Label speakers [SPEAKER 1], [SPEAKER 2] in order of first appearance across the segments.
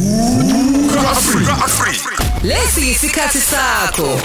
[SPEAKER 1] Vuka Afrika Afrika
[SPEAKER 2] Lesi yisikhathi sakho.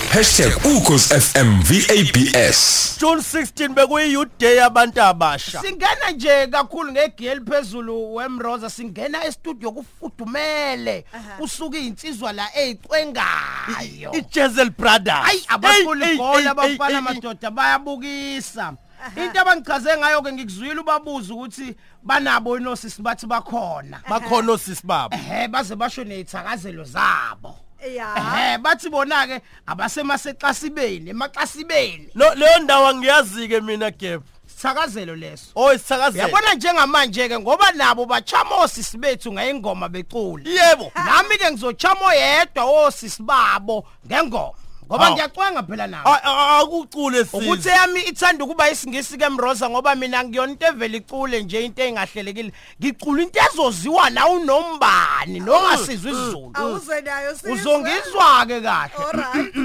[SPEAKER 1] #ukosfmvabs
[SPEAKER 3] June 16 bekuyi youth day yabantu abasha.
[SPEAKER 4] singena nje kakhulu ngegiya eliphezulu wemroza singena estudio kufudumele kusuka izinsizwa la ezicwengayo
[SPEAKER 3] iJezel Brothers.
[SPEAKER 4] hayi abaquli
[SPEAKER 3] Ey, ey, ey,
[SPEAKER 4] gola
[SPEAKER 3] ey,
[SPEAKER 4] abafana
[SPEAKER 3] ey.
[SPEAKER 4] madoda bayabukisa into abangichaze ngayo ke ngikuzwile ubabuza ukuthi banabo inosisi bathi bakhona
[SPEAKER 3] bakhona osisi babo.
[SPEAKER 4] ehe baze basho nezithakazelo zabo
[SPEAKER 5] ya
[SPEAKER 4] ehe bathi bona ke abasemasexasibeni emaxasibeni
[SPEAKER 3] Lo leyo ndawo angiyazi ke mina Gap.
[SPEAKER 4] sithakazelo leso
[SPEAKER 3] Oh isithakazela.
[SPEAKER 4] yabona njengamanje ke ngoba nabo bachamosi sibethu ngeyingoma becula
[SPEAKER 3] Yebo.
[SPEAKER 4] nami ke ngizochama yedwa osisi babo ngengoma ngoba
[SPEAKER 3] Hawu.
[SPEAKER 4] ngiyacwenga phela nami
[SPEAKER 3] A- a- Akucule sisi.
[SPEAKER 4] ukuthi yami ithanda ukuba isingisi kemroza ngoba mina ngiyonto evela icule nje into engahlelekile ngicula into ezoziwa la unombani nongasizwa isizulu
[SPEAKER 5] awuze nayo sis
[SPEAKER 4] uzongizwa ke kahle
[SPEAKER 5] alright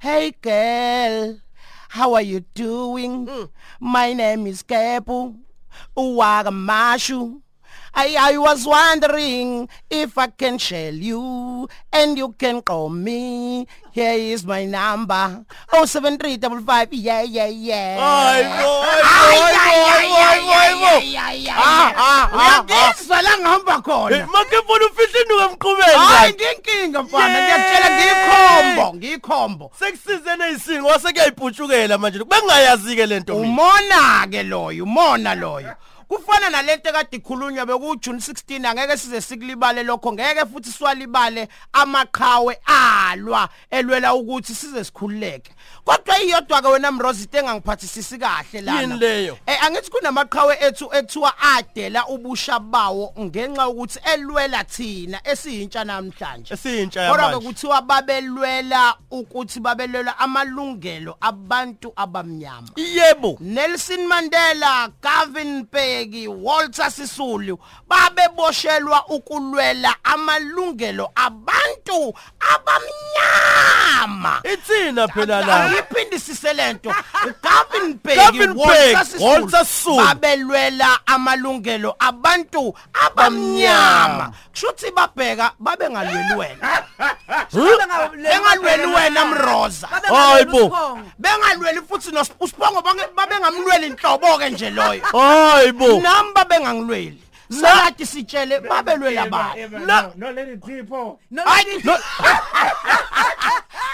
[SPEAKER 4] Hey girl, how are you doing? Mm. My name is Kepu Uwagamashu. I, I was wondering if I can shell you and you can call me. Here is my number. Oh, 07355. Yeah, yeah, yeah.
[SPEAKER 3] Hayibo, hayibo, hayibo, hayibo. Ah, ah, ah, ah.
[SPEAKER 4] Uyangizwa la ngihamba
[SPEAKER 3] Eh,
[SPEAKER 4] khona.
[SPEAKER 3] Makefuna ufihle induku
[SPEAKER 4] Hayi
[SPEAKER 3] emqhubeni.
[SPEAKER 4] nginkinga mfana,
[SPEAKER 3] Yey.
[SPEAKER 4] ngiyakutshela ngiyikhombo, ngiyikhombo.
[SPEAKER 3] Sekusizene isingo wasekuyayiputshukela manje. Bengayazi ke lento mina.
[SPEAKER 4] umona ke loyo umona loyo kufana nalento kade ikhulunywa beku June 16 angeke size sikulibale lokho ngeke futhi swalibale amaqhawe alwa elwela ukuthi size sikhululeke kodwa iyodwa ke wena Mrozit engangiphathisisi kahle lana
[SPEAKER 3] Yini leyo?
[SPEAKER 4] eh angithi kunamaqhawe ethu ethiwa adela ubusha bawo ngenxa ukuthi elwela thina esiyintsha namhlanje
[SPEAKER 3] Esiyintsha
[SPEAKER 4] kodwa ke
[SPEAKER 3] yamanje.
[SPEAKER 4] kuthiwa babelwela ukuthi babelwela amalungelo abantu abamnyama
[SPEAKER 3] Yebo.
[SPEAKER 4] Nelson Mandela, Gavin Mbeki, Walter Sisulu babeboshelwa ukulwela amalungelo abantu abamnyama.
[SPEAKER 3] Ithina phela la.
[SPEAKER 4] Ayiphindisise lento. Gavin Mbeki,
[SPEAKER 3] Gavin
[SPEAKER 4] Walter
[SPEAKER 3] Mbeki, Walter
[SPEAKER 4] Sisulu
[SPEAKER 3] Sisulu.
[SPEAKER 4] babelwela amalungelo abantu abamnyama. Kushuthi babheka babengalweli
[SPEAKER 3] Ah,
[SPEAKER 4] wena. Bengalweli wena Mroza.
[SPEAKER 3] Hayibo.
[SPEAKER 4] bengalweli futhi nosibongo babengamlweli inhlobo ke nje loyo
[SPEAKER 3] Hayibo.
[SPEAKER 4] nami babengangilweli sakade sitshele babelwela abantu
[SPEAKER 3] Na-
[SPEAKER 4] Hayi, no-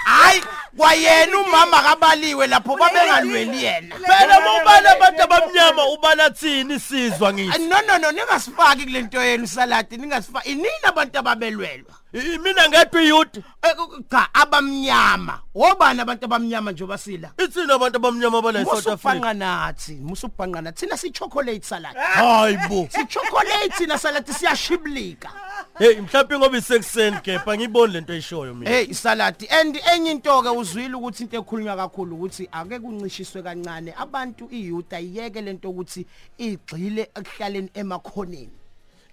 [SPEAKER 4] hayi kwayena umama kabaliwe lapho babengalweli yena
[SPEAKER 3] Phela mobala abantu abamnyama ubala thini sizwa ngisho.
[SPEAKER 4] no no no ningasifaki kule nto yenu saladi ningasifaki inini abantu ababelwelwa
[SPEAKER 3] I- Mina ngedwa iyouth.
[SPEAKER 4] Eh, cha abamnyama obani abantu abamnyama nje basila
[SPEAKER 3] Ithina abantu abamnyama bala eSouth Africa.
[SPEAKER 4] musubhanqa nathi musubhanqa nathi thina siyi-chocolate salad
[SPEAKER 3] Hayibo.
[SPEAKER 4] sichocolate thina salad siyashiblika
[SPEAKER 3] Hey mhlawumbe ngoba isekuseni gepha ngiboni lento eyishoyo mina.
[SPEAKER 4] hey isalad and enye into ke uzwile ukuthi into ekhulunywa kakhulu ukuthi ake kuncishiswe kancane abantu iyouth ayiyeke lento ukuthi igxile ekuhlaleni emakhoneni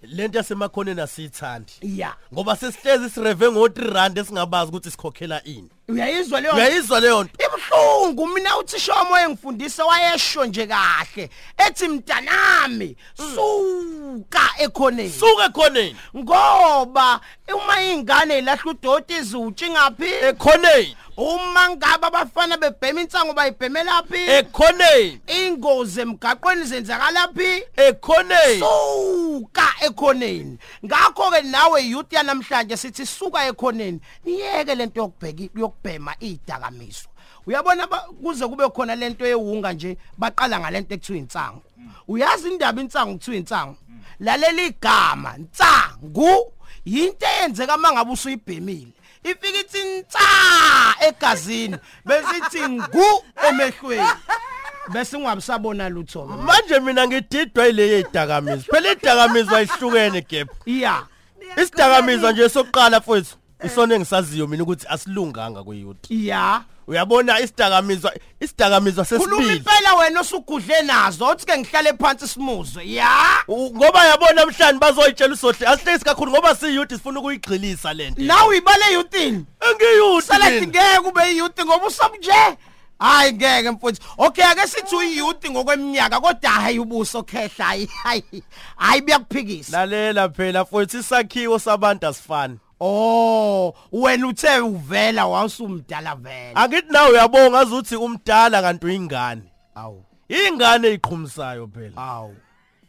[SPEAKER 3] Lento yasemakhoneni asiyithandi.
[SPEAKER 4] ya
[SPEAKER 3] Ngoba sesihlezi sireve ngo3 rand esingabazi ukuthi sikhokhela ini.
[SPEAKER 4] uyayizwa leyo
[SPEAKER 3] Uyayizwa leyo nto?
[SPEAKER 4] ibhlungu mina uthisha wami oyengifundisa wayesho nje kahle ethi mntanami suka ekhoneni
[SPEAKER 3] Suke khoneni.
[SPEAKER 4] ngoba uma ingane ilahla udoti izutsha ingaphi
[SPEAKER 3] Ekhoneni.
[SPEAKER 4] uma ngabe abafana bebhema insango bayibhemela phi
[SPEAKER 3] Ekhoneni.
[SPEAKER 4] ingozi emgaqweni zenzakala phi
[SPEAKER 3] Ekhoneni.
[SPEAKER 4] suka ekhoneni ngakho ke nawe youth yanamhlanje sithi suka ekhoneni niyeke lento yokubheka yokubhema idakamiso uyabona ba- kuze kube khona lento yewunga nje baqala ngalento ekuthiwa insangu uyazi indaba insangu kuthiwa insangu laleli igama nsangu yinto eyenzeka mangabe usuyibhemile ifika ithi ntsa egazini besithi ngu emehlweni bese ungabisabona lutho ke.
[SPEAKER 3] Manje mina ngididwa ile yedakamizwa. Phela idakamizwa ihlukene gepha.
[SPEAKER 4] iya
[SPEAKER 3] Isidakamizwa nje soqala mfowethu. Isona engisaziyo mina ukuthi asilunganga kweyouth.
[SPEAKER 4] iya
[SPEAKER 3] Uyabona isidakamizwa isidakamizwa
[SPEAKER 4] khuluma
[SPEAKER 3] sesibili.
[SPEAKER 4] impela wena osugudle nazo uthi ke ngihlale phansi simuzwe ya
[SPEAKER 3] U- ngoba yabona namhlanje bazoyitshela usohle asihlezi kakhulu ngoba siyouth sifuna ukuyigxilisa lento
[SPEAKER 4] nawe uyibale youthini
[SPEAKER 3] engiyouth
[SPEAKER 4] sala ngeke kube youth ngoba usam nje hayi ngeke mfuthu okay ake sithi uyouth ngokweminyaka kodwa hayi ubuso khehla hayi hayi hayi buyakuphikisa
[SPEAKER 3] lalela phela futhi isakhiwo sabantu asifani
[SPEAKER 4] oh wena uthe uvela wawusumdala vele
[SPEAKER 3] angithi nawe uyabonga azuthi umdala kanti uyingane
[SPEAKER 4] awu
[SPEAKER 3] ingane eziqhumsayo phela
[SPEAKER 4] awu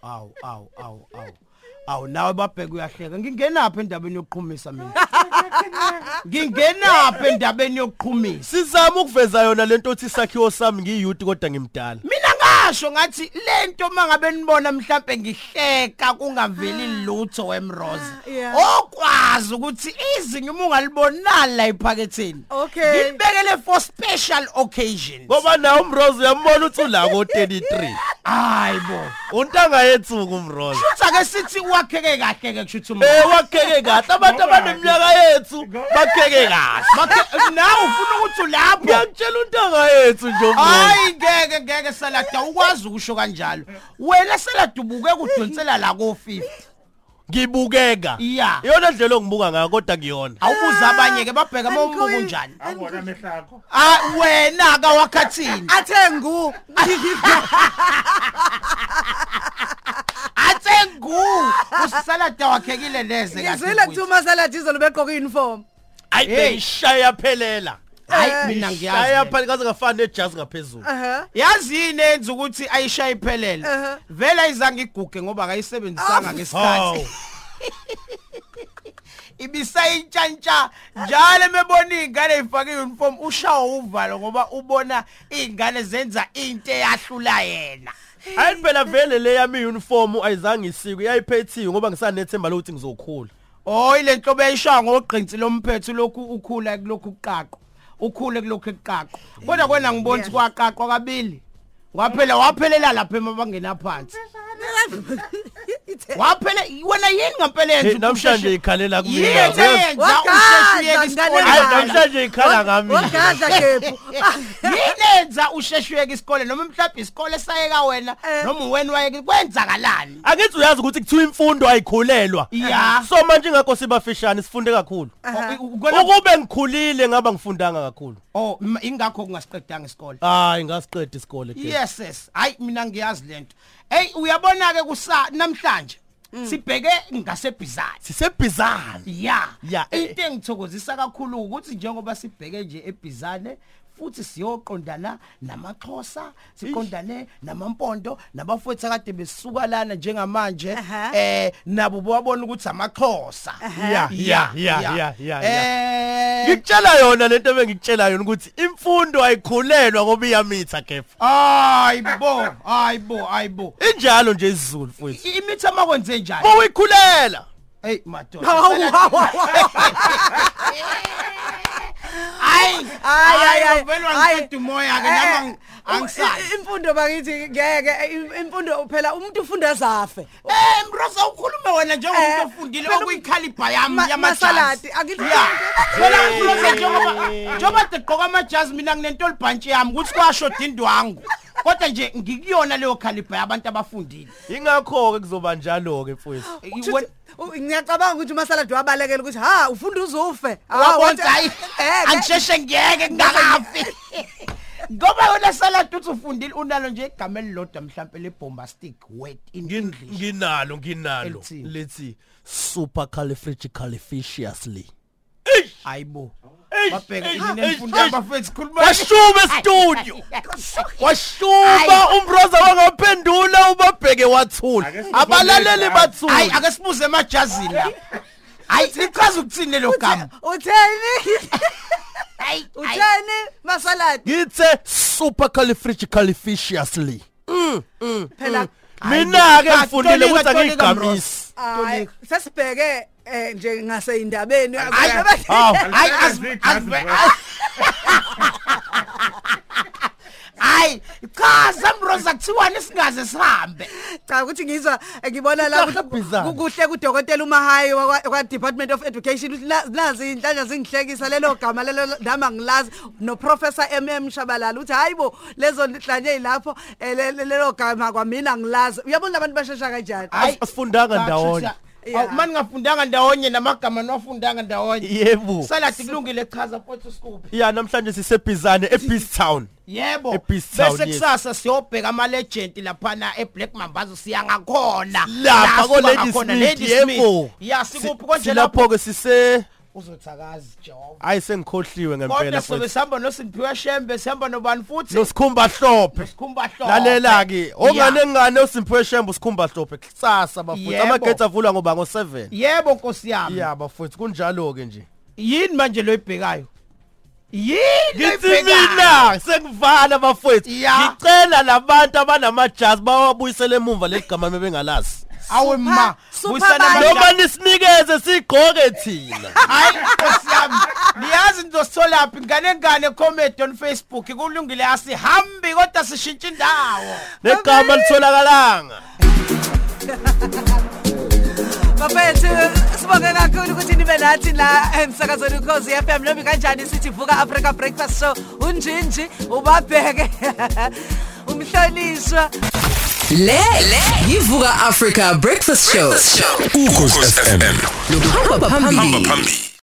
[SPEAKER 4] awu awu awu awu awu nawe babheka uyahleka ngingenaphi endabeni yokuqhumisa mina ngingenaphi endabeni yokuqhumisa
[SPEAKER 3] sizama ukuveza yona lento othi isakhiwo sami ngiyiyouth kodwa ngimdala
[SPEAKER 4] mina ngasho ngathi lento mangabe nibona mhlambe ngihleka kungaveli lutho wemrose
[SPEAKER 5] yeah.
[SPEAKER 4] okwazi ukuthi izinga uma ungalibonani la ephaketheni
[SPEAKER 5] Okay.
[SPEAKER 4] ngibekele for special occasions
[SPEAKER 3] ngoba nawe umrose uyambona uthi ula ko-33
[SPEAKER 4] hayibo
[SPEAKER 3] untanga yethuku umrose
[SPEAKER 4] futhi ake sithi wakheke kahle ke kushuthi
[SPEAKER 3] Eh wakheke kahle abantu abaneminyaka yethu bakheke kahle.
[SPEAKER 4] nawe ufuna ukuthi ulapho
[SPEAKER 3] Ngiyakutshela untanga yethu nje umrose.
[SPEAKER 4] hayi ngeke ngeke salada ukwazi ukusho kanjalo wena salada ubuke kudonsela la ko50
[SPEAKER 3] Ngibukeka.
[SPEAKER 4] iya
[SPEAKER 3] Iyona ndlela ongibuka ngayo kodwa kuyona.
[SPEAKER 4] awubuza abanye ke babheka uma umbuka
[SPEAKER 5] Angikuyi-
[SPEAKER 4] unjani
[SPEAKER 5] angiku-
[SPEAKER 4] ah wena ka wakhathini
[SPEAKER 5] athe ngu
[SPEAKER 4] athe ngu usalada wakhekile neze
[SPEAKER 5] ngizwile kuthi umasaladi izolo begqoke i-uniform
[SPEAKER 3] Hayi
[SPEAKER 4] Hey.
[SPEAKER 3] bengishaya phelela.
[SPEAKER 4] hayi Ah, mina
[SPEAKER 3] Shaya
[SPEAKER 4] ngiyazi
[SPEAKER 3] phela kaze ngafani nejazi ngaphezulu.
[SPEAKER 5] aha
[SPEAKER 4] yazini enza ukuthi ayishaye iphelele
[SPEAKER 5] Ehhe.
[SPEAKER 4] vela izange iguge ngoba akayisebenzisanga ngesikhathi
[SPEAKER 3] Hawu.
[SPEAKER 4] ibisayintshantsha njalo emebona iy'ngane yifake i-uniform ushawa uvalo ngoba ubona iy'ngane zenza into eyahlula yena
[SPEAKER 3] Hayi phela vele le yami uniform ayizange isike iyayiphethiwe ngoba ngisanethemba lokuthi ngizokhula.
[SPEAKER 4] oyi le nhlobo eyishaya ngogqinsi lomphetho lokhu ukhula kulokhu kuqaqo ukhule kulokhu ekuqaqo kodwa kwena ngibona ukuthi kwaqaqwa kabili waphela waphelela lapha emabangena phansi
[SPEAKER 5] Ithe-
[SPEAKER 4] waphela wena yini ngampela yenza
[SPEAKER 3] Hey, namhlanje
[SPEAKER 4] ukuthi usheshe-
[SPEAKER 3] ikhalela kumina.
[SPEAKER 4] yini ethe yenza usheshuyeka
[SPEAKER 5] Wagadla, mngane
[SPEAKER 4] isikole
[SPEAKER 3] Hayi
[SPEAKER 5] yami.
[SPEAKER 3] namhlanje ikhala ngami.
[SPEAKER 5] wagadla gebhu
[SPEAKER 4] yini enza usheshuyeka isikole noma mhlawumbe isikole sayeka wena
[SPEAKER 5] Eh.
[SPEAKER 4] noma uwena wayeke kwenzakalani
[SPEAKER 3] Angithi uyazi ukuthi kuthiwa imfundo ayikhulelwa.
[SPEAKER 4] Ya.
[SPEAKER 3] So manje ngakho sibafishane sifunde kakhulu.
[SPEAKER 5] Aha.
[SPEAKER 4] O- u- ukona-
[SPEAKER 3] Ukube ngikhulile ngaba ngifundanga kakhulu.
[SPEAKER 4] oh m- ingakho kungasiqedanga isikole
[SPEAKER 3] Hayi ngasiqeda isikole ke.
[SPEAKER 4] yes yes hayi mina ngiyazi lento hey uyabona ke kusa namhlanje
[SPEAKER 5] Mm.
[SPEAKER 4] sibheke ngasebhizana
[SPEAKER 3] Sisebhizana.
[SPEAKER 4] ya
[SPEAKER 3] Ya, eh.
[SPEAKER 4] into engithokozisa kakhulu ukuthi njengoba sibheke nje ebhizane futhi siyoqondana namaxhosa siqondane namampondo nabafowethu akade besuka lana njengamanje
[SPEAKER 5] Aha.
[SPEAKER 4] eh nabo bobabona ukuthi amaxhosa
[SPEAKER 3] Ya, ya, ya, ya, ya,
[SPEAKER 4] eh
[SPEAKER 3] Ngikutshela yona lento bengikutshela yona ukuthi imfundo ayikhulelwa ngoba iyamitha kepha.
[SPEAKER 4] Ayibo, ayibo, ayibo.
[SPEAKER 3] Injalo nje isizulu futhi.
[SPEAKER 4] Imithi amakwenze njani?
[SPEAKER 3] Uma uyikhulela.
[SPEAKER 4] Hey madoda.
[SPEAKER 5] Hawu, hawu, hawu.
[SPEAKER 4] Ay,
[SPEAKER 5] Ay, ay, ay.
[SPEAKER 4] Velwa
[SPEAKER 5] Ay.
[SPEAKER 4] ngiqeda umoya ke
[SPEAKER 5] Eh,
[SPEAKER 4] nami
[SPEAKER 5] u- i-
[SPEAKER 4] angisayi.
[SPEAKER 5] imfundo bangithi ngeke i- imfundo phela umuntu ufunda zafe
[SPEAKER 4] Eh mrosa ukhulume wena njengomuntu
[SPEAKER 5] Eh,
[SPEAKER 4] ofundile
[SPEAKER 5] phela
[SPEAKER 4] okuyikhalibha yami
[SPEAKER 5] ma-
[SPEAKER 4] yamajazi.
[SPEAKER 5] masaladi, Eh. angithi-
[SPEAKER 4] Yeah. Phela
[SPEAKER 3] Hey.
[SPEAKER 4] mrosa njengoba njengoba digqoka amajazi mina nginento libhantshi yami kuthi kwashoda indwangu. Kodwa nje ngikuyona leyo khalibha yabantu abafundile.
[SPEAKER 3] Ingakho ke kuzoba njalo ke mfowethu.
[SPEAKER 4] Eh,
[SPEAKER 5] Kusho
[SPEAKER 4] wena-
[SPEAKER 5] ukuthi- u- ngiyacabanga ukuthi umasaladi wabalekela ukuthi ha ufunda uzufe Ah,
[SPEAKER 4] wakonza
[SPEAKER 5] wathi-
[SPEAKER 4] hayi
[SPEAKER 5] Eh, ke-
[SPEAKER 4] angisheshe ngeke ngakafi ngoba wena salad uthi ufundile unalo nje igama elilodwa mhlawumbe lebombastic word in
[SPEAKER 3] Ngin-
[SPEAKER 4] english
[SPEAKER 3] Nginalo nginalo.
[SPEAKER 4] Elithini?
[SPEAKER 3] Lithi supercalifragilistically.
[SPEAKER 4] hayibo
[SPEAKER 3] Eish,
[SPEAKER 4] babheka
[SPEAKER 3] eish,
[SPEAKER 4] yini
[SPEAKER 3] eish,
[SPEAKER 4] emfundo
[SPEAKER 3] eish.
[SPEAKER 4] abafethu khuluma
[SPEAKER 3] Washuba studio. Washuba umbroza wangaphendula ubabheke wathula. Abalaleli
[SPEAKER 4] hayi
[SPEAKER 3] bathula.
[SPEAKER 4] ake sibuze emajazini la hayi lichaza ukuthini lo gama
[SPEAKER 5] utheni
[SPEAKER 4] hayi hayi.
[SPEAKER 5] utheni masaladi
[SPEAKER 3] Ngithe supercalifragilistically.
[SPEAKER 4] Mm,
[SPEAKER 5] phela
[SPEAKER 3] Mina ke
[SPEAKER 4] Hayi,
[SPEAKER 3] ngifundile
[SPEAKER 4] Tolika,
[SPEAKER 3] ukuthi
[SPEAKER 4] Tolika,
[SPEAKER 3] angigamisi.
[SPEAKER 5] Hayi, sasibheke eh, nje ngaseyindabeni
[SPEAKER 3] Hawu.
[SPEAKER 4] hayi as- as- hayi chaza mroza kuthiwani singaze sihambe
[SPEAKER 5] cha ukuthi ngizwa eh, ngibona la ukuthi
[SPEAKER 3] Kuhlangabezana.
[SPEAKER 5] ku- kuhle kudokotela uMahayi wa- kwa Department of Education uthi na- nazi inhlanja zingihlekisa lelo gama lelo nama ngilazi no Professor MM Shabalala uthi hayibo lezo inhlanje ezilapho eh, le- le- lelo gama kwamina ngilazi uyabona abantu bashesha kanjani
[SPEAKER 4] Hayi.
[SPEAKER 3] Asifundanga
[SPEAKER 4] Cha,
[SPEAKER 3] ndawonye.
[SPEAKER 4] Trisha,
[SPEAKER 5] Yeah.
[SPEAKER 4] awu mani ngafundanga ndawonye namagama niwafundanga ndawonye
[SPEAKER 3] yebo
[SPEAKER 4] saladi kulungile chaza mfowethu sikuphi
[SPEAKER 3] ya namhlanje sisebhizane ebeast town
[SPEAKER 4] yebo
[SPEAKER 3] E-Peace Town,
[SPEAKER 4] bese
[SPEAKER 3] yes.
[SPEAKER 4] kusasa siyobheka ama-legend laphana e-black mambazo siya ngakhona
[SPEAKER 3] Lapha
[SPEAKER 4] La sisuka
[SPEAKER 3] ko-Lady
[SPEAKER 4] ngakhona,
[SPEAKER 3] Smith,
[SPEAKER 4] Lady
[SPEAKER 3] yebo.
[SPEAKER 4] Smith. ya sikuphi konje lapho
[SPEAKER 3] silapho-ke sise
[SPEAKER 4] uzothakazi jehova
[SPEAKER 3] hayi sengikhohliwe ngempela
[SPEAKER 4] kodwa sobe
[SPEAKER 3] mfowethu.
[SPEAKER 4] sihamba nosiphiwe shembe sihamba nobani futhi
[SPEAKER 3] nosikhumba hlophe
[SPEAKER 4] sikhumba hlobo
[SPEAKER 3] lalela-ke ongane engane usimphiwe shembe usikhumba hlophe kusasa bafowethu
[SPEAKER 4] Yebo.
[SPEAKER 3] amagethi avulwa ngoba ngo-7
[SPEAKER 4] yebo nkosi yami
[SPEAKER 3] ya bafowethu kunjalo-ke nje
[SPEAKER 4] yini manje loyibhekayo yini
[SPEAKER 3] ngithi
[SPEAKER 4] loyibhekayo?
[SPEAKER 3] mina sengivala bafowethu
[SPEAKER 4] Ya.
[SPEAKER 3] ngicela labantu abanamajazi bawabuyisele emuva leli gama bebengalazi
[SPEAKER 4] awe ma
[SPEAKER 5] Super-
[SPEAKER 4] busana
[SPEAKER 5] Superman.
[SPEAKER 4] manje.
[SPEAKER 3] noma nisinikeze sigqoke thina
[SPEAKER 4] hayi nkosi yami niyazi nizosolaphi ngane ngane comedy on facebook kulungile asihambi kodwa sishintsha indawo
[SPEAKER 3] negama litholakalanga
[SPEAKER 5] bafethu sibonge kakhulu ukuthi nibe nathi la emsakazweni ukhozi FM noma kanjani sithi vuka Africa Breakfast Show unjinji ubabheke umhloliswa
[SPEAKER 2] Le le yivuka Africa Breakfast Show.
[SPEAKER 1] Ukhosi FM.
[SPEAKER 2] Hamba phambili.
[SPEAKER 1] Hamba phambili.